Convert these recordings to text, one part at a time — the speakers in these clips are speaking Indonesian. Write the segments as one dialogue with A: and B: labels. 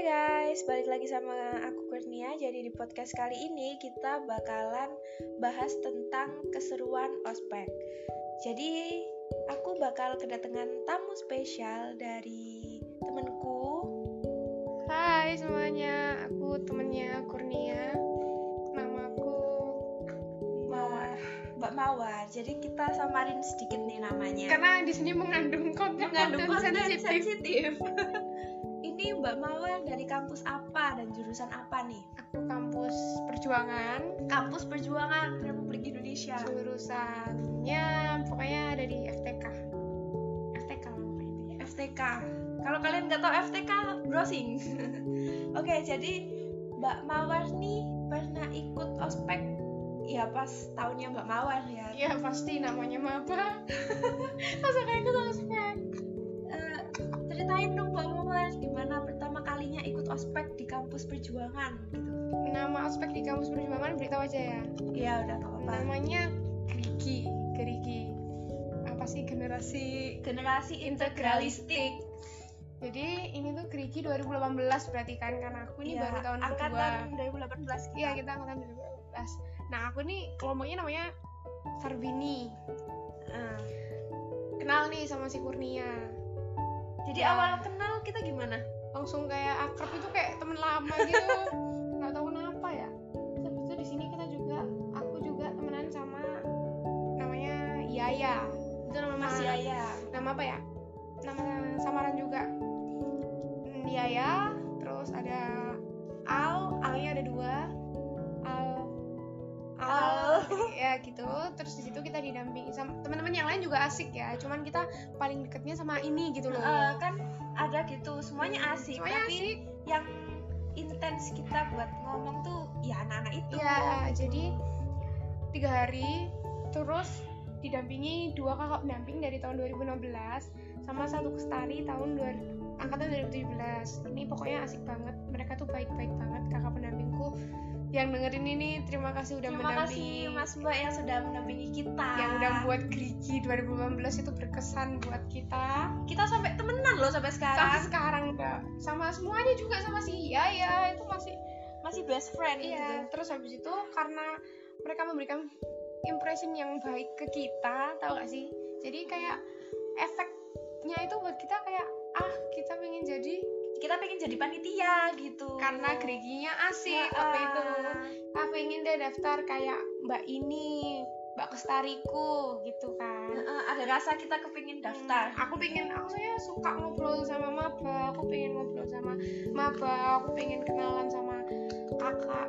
A: guys, balik lagi sama aku Kurnia. Jadi di podcast kali ini kita bakalan bahas tentang keseruan ospek. Jadi aku bakal kedatangan tamu spesial dari temenku.
B: Hai semuanya, aku temennya Kurnia. Namaku
A: Mawar, Mbak Mawar. Jadi kita samarin sedikit nih namanya.
B: karena di sini mengandung konten
A: Mengandung konten
B: sensitif.
A: Kan sensitif. ini Mbak Mawar dari kampus apa dan jurusan apa nih?
B: Aku kampus perjuangan,
A: Kampus Perjuangan Republik Indonesia.
B: jurusannya pokoknya ada di FTK.
A: FTK apa itu ya? FTK. Kalau kalian nggak tahu FTK, browsing. Oke, jadi Mbak Mawar nih pernah ikut ospek ya pas tahunnya Mbak Mawar ya.
B: Ya pasti namanya maba. Masa kayak ikut ospek?
A: Eh, ceritain dong Mbak Mawar gimana pertama kalinya ikut ospek di kampus Perjuangan gitu.
B: Nama ospek di kampus perjuangan beritahu aja ya.
A: Iya udah nggak apa-apa.
B: Namanya Gerigi, Gerigi. Apa sih generasi
A: Generasi integralistik.
B: Jadi ini tuh Kriki 2018 berarti kan karena aku ini
A: Ya,
B: baru tahun
A: angkatan
B: kedua.
A: 2018 kita.
B: Iya kita angkatan 2018. Nah aku nih kelompoknya namanya Farbini.
A: Eh,
B: Kenal nih sama si Kurnia.
A: jadi
B: Ya.
A: awal kenal kita gimana?
B: Langsung kayak akrab itu kayak temen lama gitu. Gak tahu kenapa ya. Terus itu di sini kita juga aku juga temenan sama namanya Yaya. Nah, Itu nama
A: Mas
B: Yaya
A: Yaya.
B: nama apa ya nama samaran juga Hmm, Yaya terus ada Al Alnya ada dua Al
A: Al.
B: ya gitu terus di situ kita didampingi sama teman-teman yang lain juga asik ya cuman kita paling deketnya sama ini gitu loh Hmm,
A: Eh, kan ada gitu semuanya asik
B: Semuanya
A: tapi
B: asik
A: yang intens kita buat ngomong tuh ya anak-anak itu
B: ya jadi tiga hari terus didampingi dua kakak pendamping dari tahun 2016 sama satu kestari tahun 2, angkatan 2017 ini pokoknya asik banget mereka tuh baik-baik banget kakak pendampingku yang dengerin ini terima kasih udah
A: terima
B: mendampingi
A: kasih mas mbak yang sudah mendampingi kita
B: yang udah buat gerigi 2018 itu berkesan buat kita
A: kita sampai temenan loh sampai
B: sampai
A: sekarang
B: sekarang udah sama semuanya juga sama si Yaya itu masih
A: masih best friend gitu.
B: Iya, terus habis itu karena mereka memberikan impression yang baik ke kita, tau gak sih? Jadi kayak efeknya itu buat kita kayak ah kita pengen jadi
A: gitu kita pengen jadi panitia gitu
B: karena geriginya asik
A: Ya,
B: apa itu
A: ah.
B: ah pengen deh daftar kayak mbak ini mbak kestariku gitu
A: Eh,
B: kan
A: eh, ada rasa kita kepingin daftar
B: Hmm, aku pengen aku saya suka ngobrol sama maba aku pengen ngobrol sama maba aku pengen kenalan sama kakak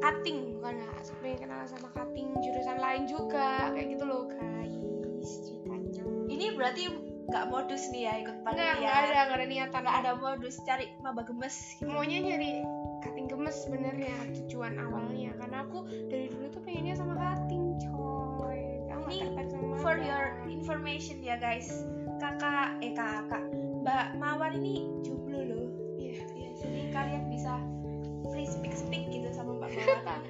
B: kating bukan lah aku pengen kenalan sama kating jurusan lain juga kayak gitu loh guys ceritanya
A: ini berarti nggak modus nih ya ikut
B: enggak
A: panitia
B: enggak ada Hmm. nggak ada niatan
A: Nggak ada modus cari maba gemes gitu.
B: maunya nyari kating gemes sebenarnya tujuan awalnya karena aku dari dulu tuh pengennya sama kating coy kamu
A: Ini
B: nggak tertarik sama
A: For
B: maba.
A: your information ya guys, kakak eh kakak Mbak Mawar ini jomblo loh.
B: Iya.
A: Ya, jadi kalian bisa free speak speak gitu sama Mbak Mawar.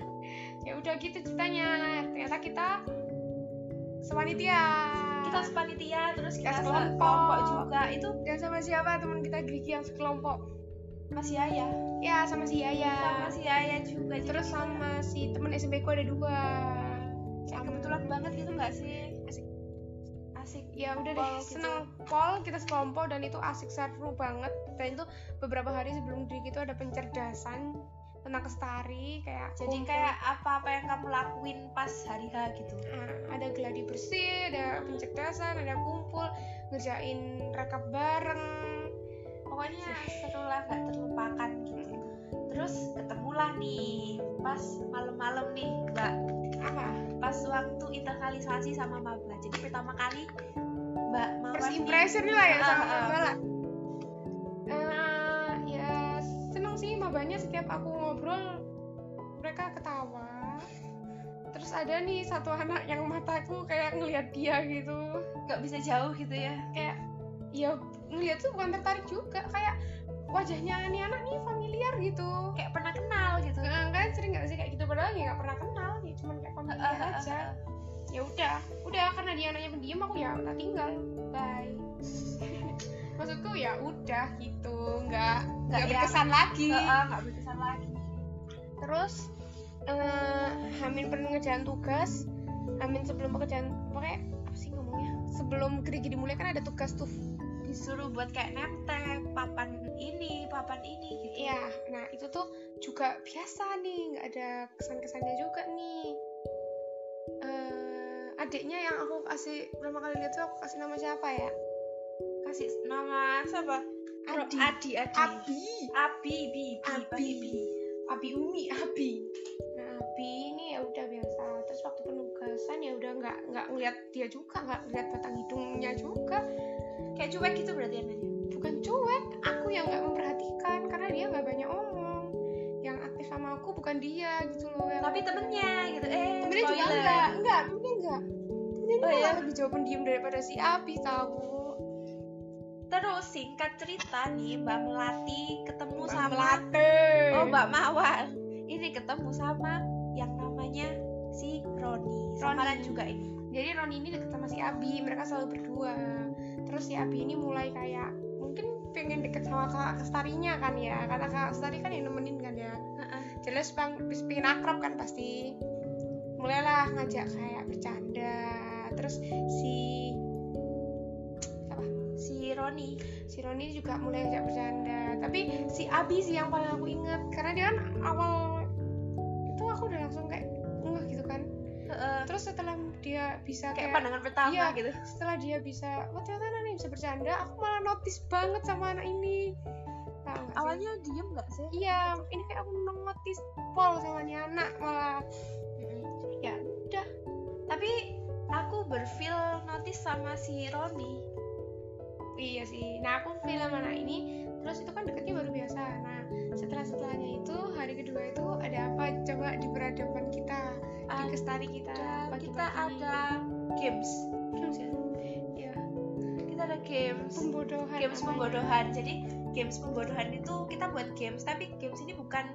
B: ya udah gitu ceritanya ternyata kita sepanitia
A: kita sepanitia terus kita
B: Kita
A: sekelompok
B: sekelompok.
A: juga itu
B: dan Ya, sama siapa teman kita Grigi yang sekelompok
A: Mas Yaya
B: ya sama si
A: sama
B: Yaya
A: si Yaya juga Jadi
B: terus
A: kita-
B: sama si teman SMP ku ada dua
A: kayak kebetulan banget gitu nggak sih asik asik
B: ya udah deh
A: Pol gitu.
B: seneng pol kita sekelompok dan itu asik seru banget dan itu beberapa hari sebelum Grigi itu ada pencerdasan tentang kestari kayak
A: jadi
B: kumpul.
A: kayak apa-apa yang kamu lakuin pas hari H gitu
B: Nah, ada geladi bersih ada pencerdasan ada kumpul ngerjain rekap bareng
A: pokoknya
B: Iya.
A: seru lah nggak terlupakan gitu terus ketemulah nih pas malam-malam nih mbak
B: apa
A: pas waktu internalisasi sama maba jadi pertama kali mbak mawar
B: first
A: nih-
B: impression lah ya
A: Ah,
B: sama
A: ah.
B: maba lah Eh, ya seneng sih mabanya setiap aku ngobrol mereka ketawa terus ada nih satu anak yang mataku kayak ngelihat dia gitu
A: nggak bisa jauh gitu ya
B: kayak ya ngelihat tuh bukan tertarik juga kayak wajahnya nih anak nih familiar gitu
A: kayak pernah kenal gitu
B: Eh, kan
A: Ah,
B: iya sering nggak sih kayak gitu padahal ya nggak pernah kenal ya cuman kayak familiar aja ya udah udah karena dia anaknya pendiam aku ya tak tinggal bye maksudku ya udah gitu nggak nggak
A: yang-
B: berkesan lagi
A: Heeh, nggak berkesan lagi
B: terus eh hamin pengerjaan tugas hamin sebelum pekerjaan pokoknya apa sih ngomongnya sebelum gede-gede mulai kan ada tugas tuh
A: disuruh buat kayak nemtek papan ini papan ini gitu
B: Iya, nah itu tuh juga biasa nih, nggak ada kesan-kesannya juga nih. Eh, adiknya yang aku kasih pertama kali lihat tuh aku kasih nama siapa ya?
A: kasih nama siapa Pro-
B: Adi.
A: Adi Adi
B: Abi.
A: Abi Bi Bi
B: Abi.
A: pakai Bi
B: Abi Umi, Abi. Nah, Abi ini ya udah biasa. Terus waktu penugasan ya udah nggak nggak ngeliat dia juga, nggak ngeliat batang hidungnya juga.
A: kayak cuek gitu berarti anaknya
B: Bukan cuek, aku yang nggak memperhatikan karena dia nggak banyak omong. Yang aktif sama aku bukan dia gitu loh. yang-
A: tapi temennya gitu eh
B: temennya juga
A: spoiler.
B: enggak enggak temennya enggak temennya
A: Oh,
B: malah
A: iya?
B: lebih jauh pendiam daripada si Abi tahu
A: terus singkat cerita nih Mbak Melati ketemu
B: Mbak
A: sama
B: Melate
A: oh Mbak Mawar ini ketemu sama yang namanya si Roni samaran
B: Roni.
A: juga ini
B: jadi Ron ini deket sama si Abi mereka selalu berdua terus si Abi ini mulai kayak mungkin pengen deket sama kakak kestarinya kan ya karena kakak kestari kan yang nemenin kan ya
A: Heeh.
B: jelas bang pengen akrab kan pasti mulailah ngajak kayak bercanda terus si
A: si Roni
B: si Roni juga mulai ajak bercanda tapi si Abi sih yang paling aku inget karena dia kan awal itu aku udah langsung kayak ngeh gitu kan
A: Heeh.
B: terus setelah dia bisa
A: kayak
B: kayak,
A: pandangan pertama
B: Iya.
A: gitu
B: setelah dia bisa wah ternyata anak ini bisa bercanda aku malah notice banget sama anak ini Tahu nggak sih?
A: awalnya diem nggak sih
B: iya ini kayak aku notice pol sama ini anak malah ya udah
A: tapi aku berfeel notice sama si Roni
B: iya sih nah aku film anak ini terus itu kan deketnya baru biasa nah setelah setelahnya itu hari kedua itu ada apa coba di peradaban kita di
A: ada
B: kestari kita pagi-pagi.
A: Ah, iya, kita ada games
B: Games ya? Iya,
A: kita ada games
B: pembodohan
A: games
B: namanya.
A: pembodohan jadi games pembodohan itu kita buat games tapi games ini bukan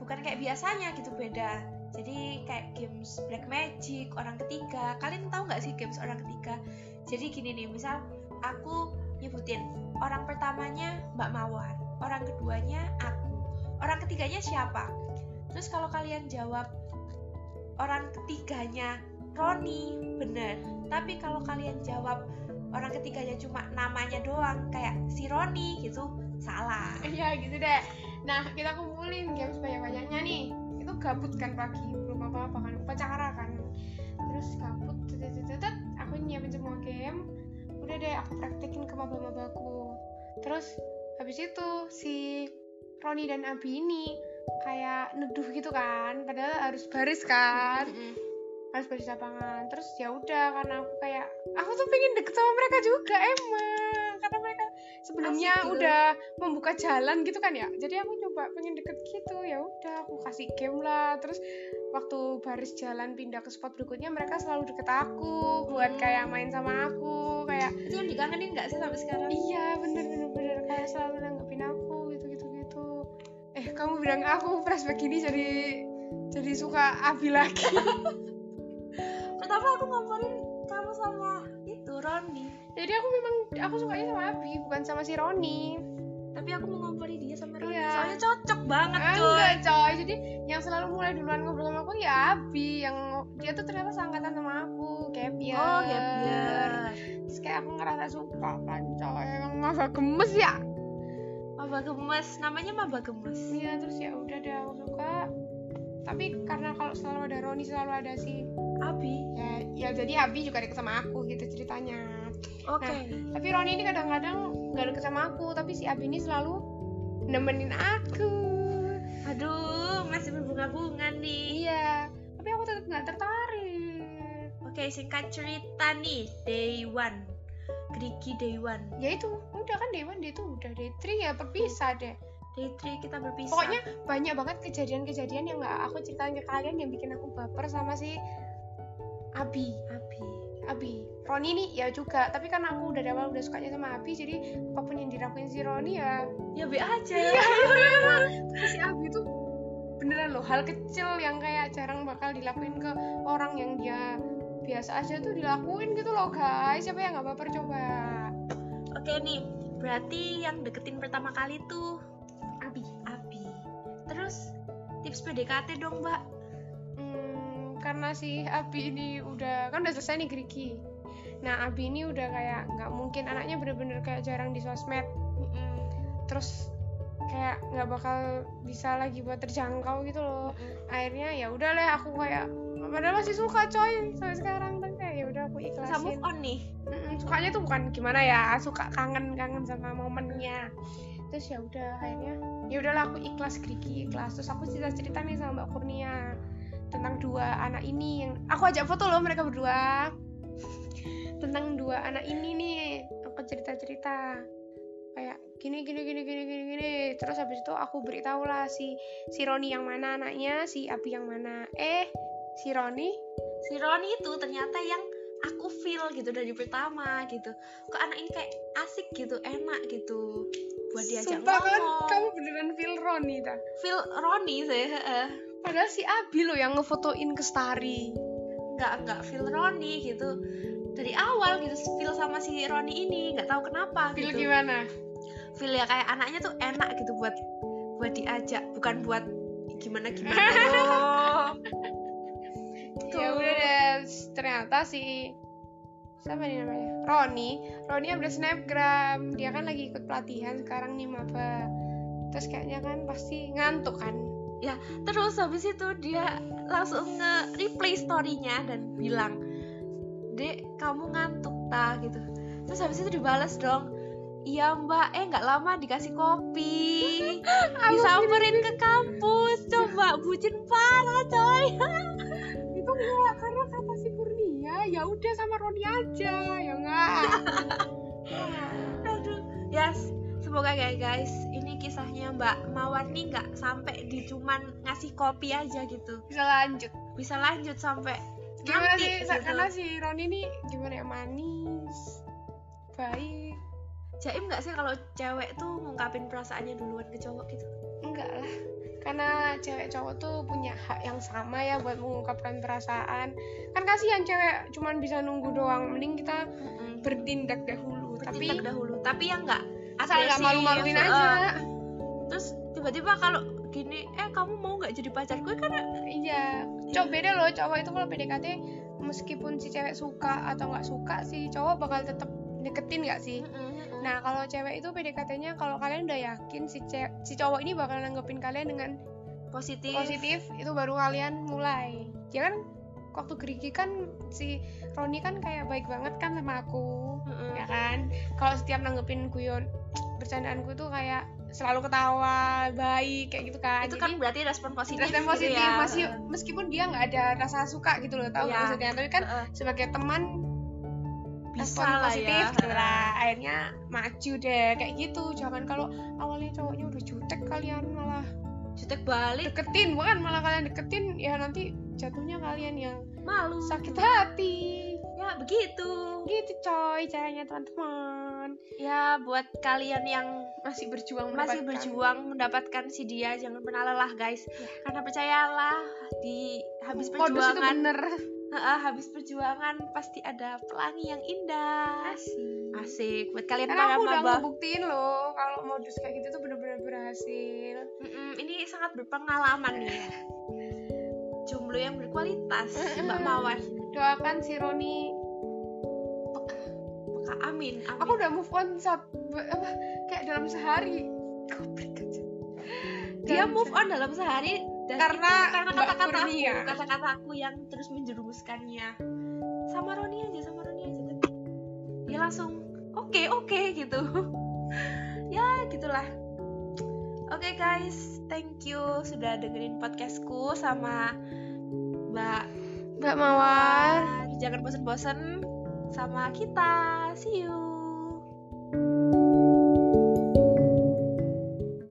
A: bukan kayak biasanya gitu beda jadi kayak games black magic orang ketiga kalian tahu nggak sih games orang ketiga jadi gini nih misal aku nyebutin orang pertamanya mbak mawar orang keduanya aku orang ketiganya siapa terus kalau kalian jawab orang ketiganya Roni bener tapi kalau kalian jawab orang ketiganya cuma namanya doang kayak si Roni gitu salah
B: iya gitu deh nah kita kumpulin games banyak-banyaknya nih itu gabut kan pagi belum apa-apa kan upacara kan terus gabut tetet, tetet, tetet. aku nyiapin semua game udah deh aku praktekin ke maba-mabaku terus habis itu si Roni dan Abi ini kayak neduh gitu kan padahal harus baris kan harus baris lapangan terus ya udah karena aku kayak aku tuh pengen deket sama mereka juga emang karena mereka sebelumnya
A: Asik gitu.
B: udah membuka jalan gitu kan ya jadi aku coba pengen deket gitu ya udah aku kasih game lah terus waktu baris jalan pindah ke spot berikutnya mereka selalu deket aku buat
A: Hmm.
B: kayak main sama aku kayak
A: itu yang dikangenin nggak sih sampai sekarang
B: iya bener bener bener kayak selalu nanggepin aku gitu gitu gitu eh kamu bilang aku flashback ini jadi jadi suka Abi lagi
A: pertama aku ngomporin kamu sama itu Roni
B: jadi aku memang aku sukanya sama Abi bukan sama si Roni
A: tapi aku mau ngomporin dia sama Roni
B: Iya.
A: soalnya cocok banget
B: Ah,
A: coy
B: enggak coy jadi yang selalu mulai duluan ngobrol sama aku ya Abi yang dia tuh ternyata seangkatan sama aku kayak biar
A: oh Gabriel
B: terus kayak aku ngerasa suka kan coy emang masa gemes ya
A: Maba Gemes namanya Maba Gemes
B: iya terus ya udah deh aku suka tapi karena kalau selalu ada Roni selalu ada si
A: Abi
B: ya, ya jadi Abi juga deket sama aku gitu ceritanya Nah,
A: oke
B: tapi Roni ini kadang-kadang nggak deket sama aku tapi si Abi ini selalu nemenin aku
A: aduh masih berbunga-bunga nih
B: Nah. Iya, tapi aku tetap nggak tertarik.
A: oke singkat cerita nih day one Grigi day one
B: Ya itu, udah kan day one, day two, udah day three ya berpisah deh.
A: day three kita berpisah
B: Pokoknya banyak banget kejadian-kejadian yang nggak aku ceritain ke kalian yang bikin aku baper sama si Abi.
A: Abi
B: Abi, Roni nih ya juga, tapi karena aku udah dari awal udah sukanya sama Abi, jadi apapun yang dilakuin si Roni ya
A: ya be aja
B: Iya, Tapi si Abi tuh beneran loh hal kecil yang kayak jarang bakal dilakuin ke orang yang dia biasa aja tuh dilakuin gitu loh guys siapa yang nggak baper coba
A: Oke nih, berarti yang deketin pertama kali tuh
B: Abi
A: Abi. Terus tips PDKT dong, Mbak.
B: Hmm, karena si Abi ini udah kan udah selesai nih Grigi. Nah Abi ini udah kayak nggak mungkin anaknya bener-bener kayak jarang di sosmed. Terus kayak nggak bakal bisa lagi buat terjangkau gitu loh. Akhirnya ya udah lah aku kayak padahal masih suka coy sampai sekarang tapi kayak ya udah aku
A: Bisa
B: ikhlasin.
A: move on nih.
B: Mm-mm, sukanya tuh bukan gimana ya suka kangen kangen sama momennya terus ya udah akhirnya ya udahlah aku ikhlas Grigi ikhlas terus aku cerita cerita nih sama Mbak Kurnia tentang dua anak ini yang aku ajak foto loh mereka berdua tentang dua anak ini nih aku cerita cerita kayak gini gini gini gini gini gini terus habis itu aku beritahu lah si si Roni yang mana anaknya si Abi yang mana eh si Roni
A: Si Roni itu ternyata yang aku feel gitu dari pertama gitu. Kok anak ini kayak asik gitu, enak gitu buat diajak
B: Sumpah kan
A: ngomong.
B: kamu beneran feel Roni dah
A: Feel Roni saya heeh.
B: Padahal si Abi loh yang ngefotoin ke Stari.
A: nggak nggak feel Roni gitu dari awal gitu feel sama si Roni ini nggak tahu kenapa
B: Feel
A: gitu
B: gimana?
A: feel ya kayak anaknya tuh enak gitu buat buat diajak bukan buat gimana gimana loh
B: Eh,
A: gitu.
B: Ya udah deh, ternyata si siapa nih namanya? Roni. Roni udah snapgram. Dia kan lagi ikut pelatihan sekarang nih maba. Terus kayaknya kan pasti ngantuk kan.
A: terus habis itu dia langsung nge-replay storynya dan bilang dek kamu ngantuk ta gitu terus habis itu dibales dong iya mbak eh nggak lama dikasih kopi disamperin ke kampus coba bucin parah coy
B: Itu enggak karena kata si Kurnia, ya udah sama Roni aja, ya enggak.
A: Aduh, yes. Semoga ya guys, ini kisahnya Mbak Mawar nih nggak sampai di cuman ngasih kopi aja gitu.
B: Bisa lanjut.
A: Bisa lanjut sampai
B: Gimana
A: nanti,
B: sih?
A: gitu.
B: Karena si Roni ini gimana ya manis, baik,
A: Jaim nggak sih kalau cewek tuh ngungkapin perasaannya duluan ke cowok gitu?
B: enggak lah karena cewek cowok tuh punya hak yang sama ya buat mengungkapkan perasaan kan kasihan cewek cuman bisa nunggu doang mending kita bertindak dahulu
A: Bertindak
B: tapi
A: dahulu, tapi yang nggak
B: asal nggak
A: agresif,
B: malu-maluin
A: eh,
B: aja
A: Terus tiba-tiba kalau gini, eh kamu mau nggak jadi pacar gue kan
B: iya cowok beda loh cowok itu kalau PDKT meskipun si cewek suka atau nggak suka si cowok bakal tetap deketin nggak sih
A: Nah,
B: Nah, kalau cewek itu PDKT-nya kalau kalian udah yakin si ce- si cowok ini bakal nanggepin kalian dengan
A: positif.
B: positif itu baru kalian mulai ya kan waktu gerigi kan si Roni kan kayak baik banget kan sama aku
A: Mm-mm.
B: ya kan kalau setiap nanggepin guyon bercandaanku tuh kayak selalu ketawa baik kayak gitu kan
A: Itu kan berarti respon positif. gitu
B: respon positif
A: ya.
B: masih meskipun dia nggak ada rasa suka gitu loh tahu nggak
A: Iya.
B: maksudnya tapi kan
A: Heeh.
B: sebagai teman
A: bisa
B: respon
A: lah
B: positif
A: ya.
B: gitu lah akhirnya maju deh kayak gitu jangan kalau awalnya cowoknya udah jutek kalian malah
A: Jutek balik
B: deketin bukan malah kalian deketin ya nanti jatuhnya kalian yang
A: malu
B: sakit hati
A: ya begitu
B: gitu coy caranya teman-teman
A: ya buat kalian yang
B: masih berjuang
A: masih
B: mendapatkan.
A: berjuang mendapatkan si dia jangan pernah lelah guys karena percayalah di habis
B: modus Oh, itu
A: perjuangan
B: bener
A: Heeh, habis perjuangan pasti ada pelangi yang indah
B: asik
A: asik buat kalian
B: karena
A: para
B: aku udah
A: maba
B: ngebuktiin loh kalau modus kayak gitu tuh bener-bener berhasil
A: Mm-mm, ini sangat berpengalaman nih jomblo yang berkualitas mbak mawar
B: doakan si Roni
A: Maka amin, amin.
B: aku udah move on sab- apa, kayak dalam sehari Goblok aja.
A: dia
B: Dalam
A: move on dalam sehari dan
B: Kan Karena
A: itu karena
B: Mbak
A: kata-kata aku
B: Kurnia.
A: kata-kata aku yang terus menjerumuskannya sama Roni aja sama Roni aja dia langsung oke oke gitu ya gitulah oke guys thank you sudah dengerin podcastku sama Mbak
B: Mbak Mawar
A: jangan bosen-bosen sama kita see you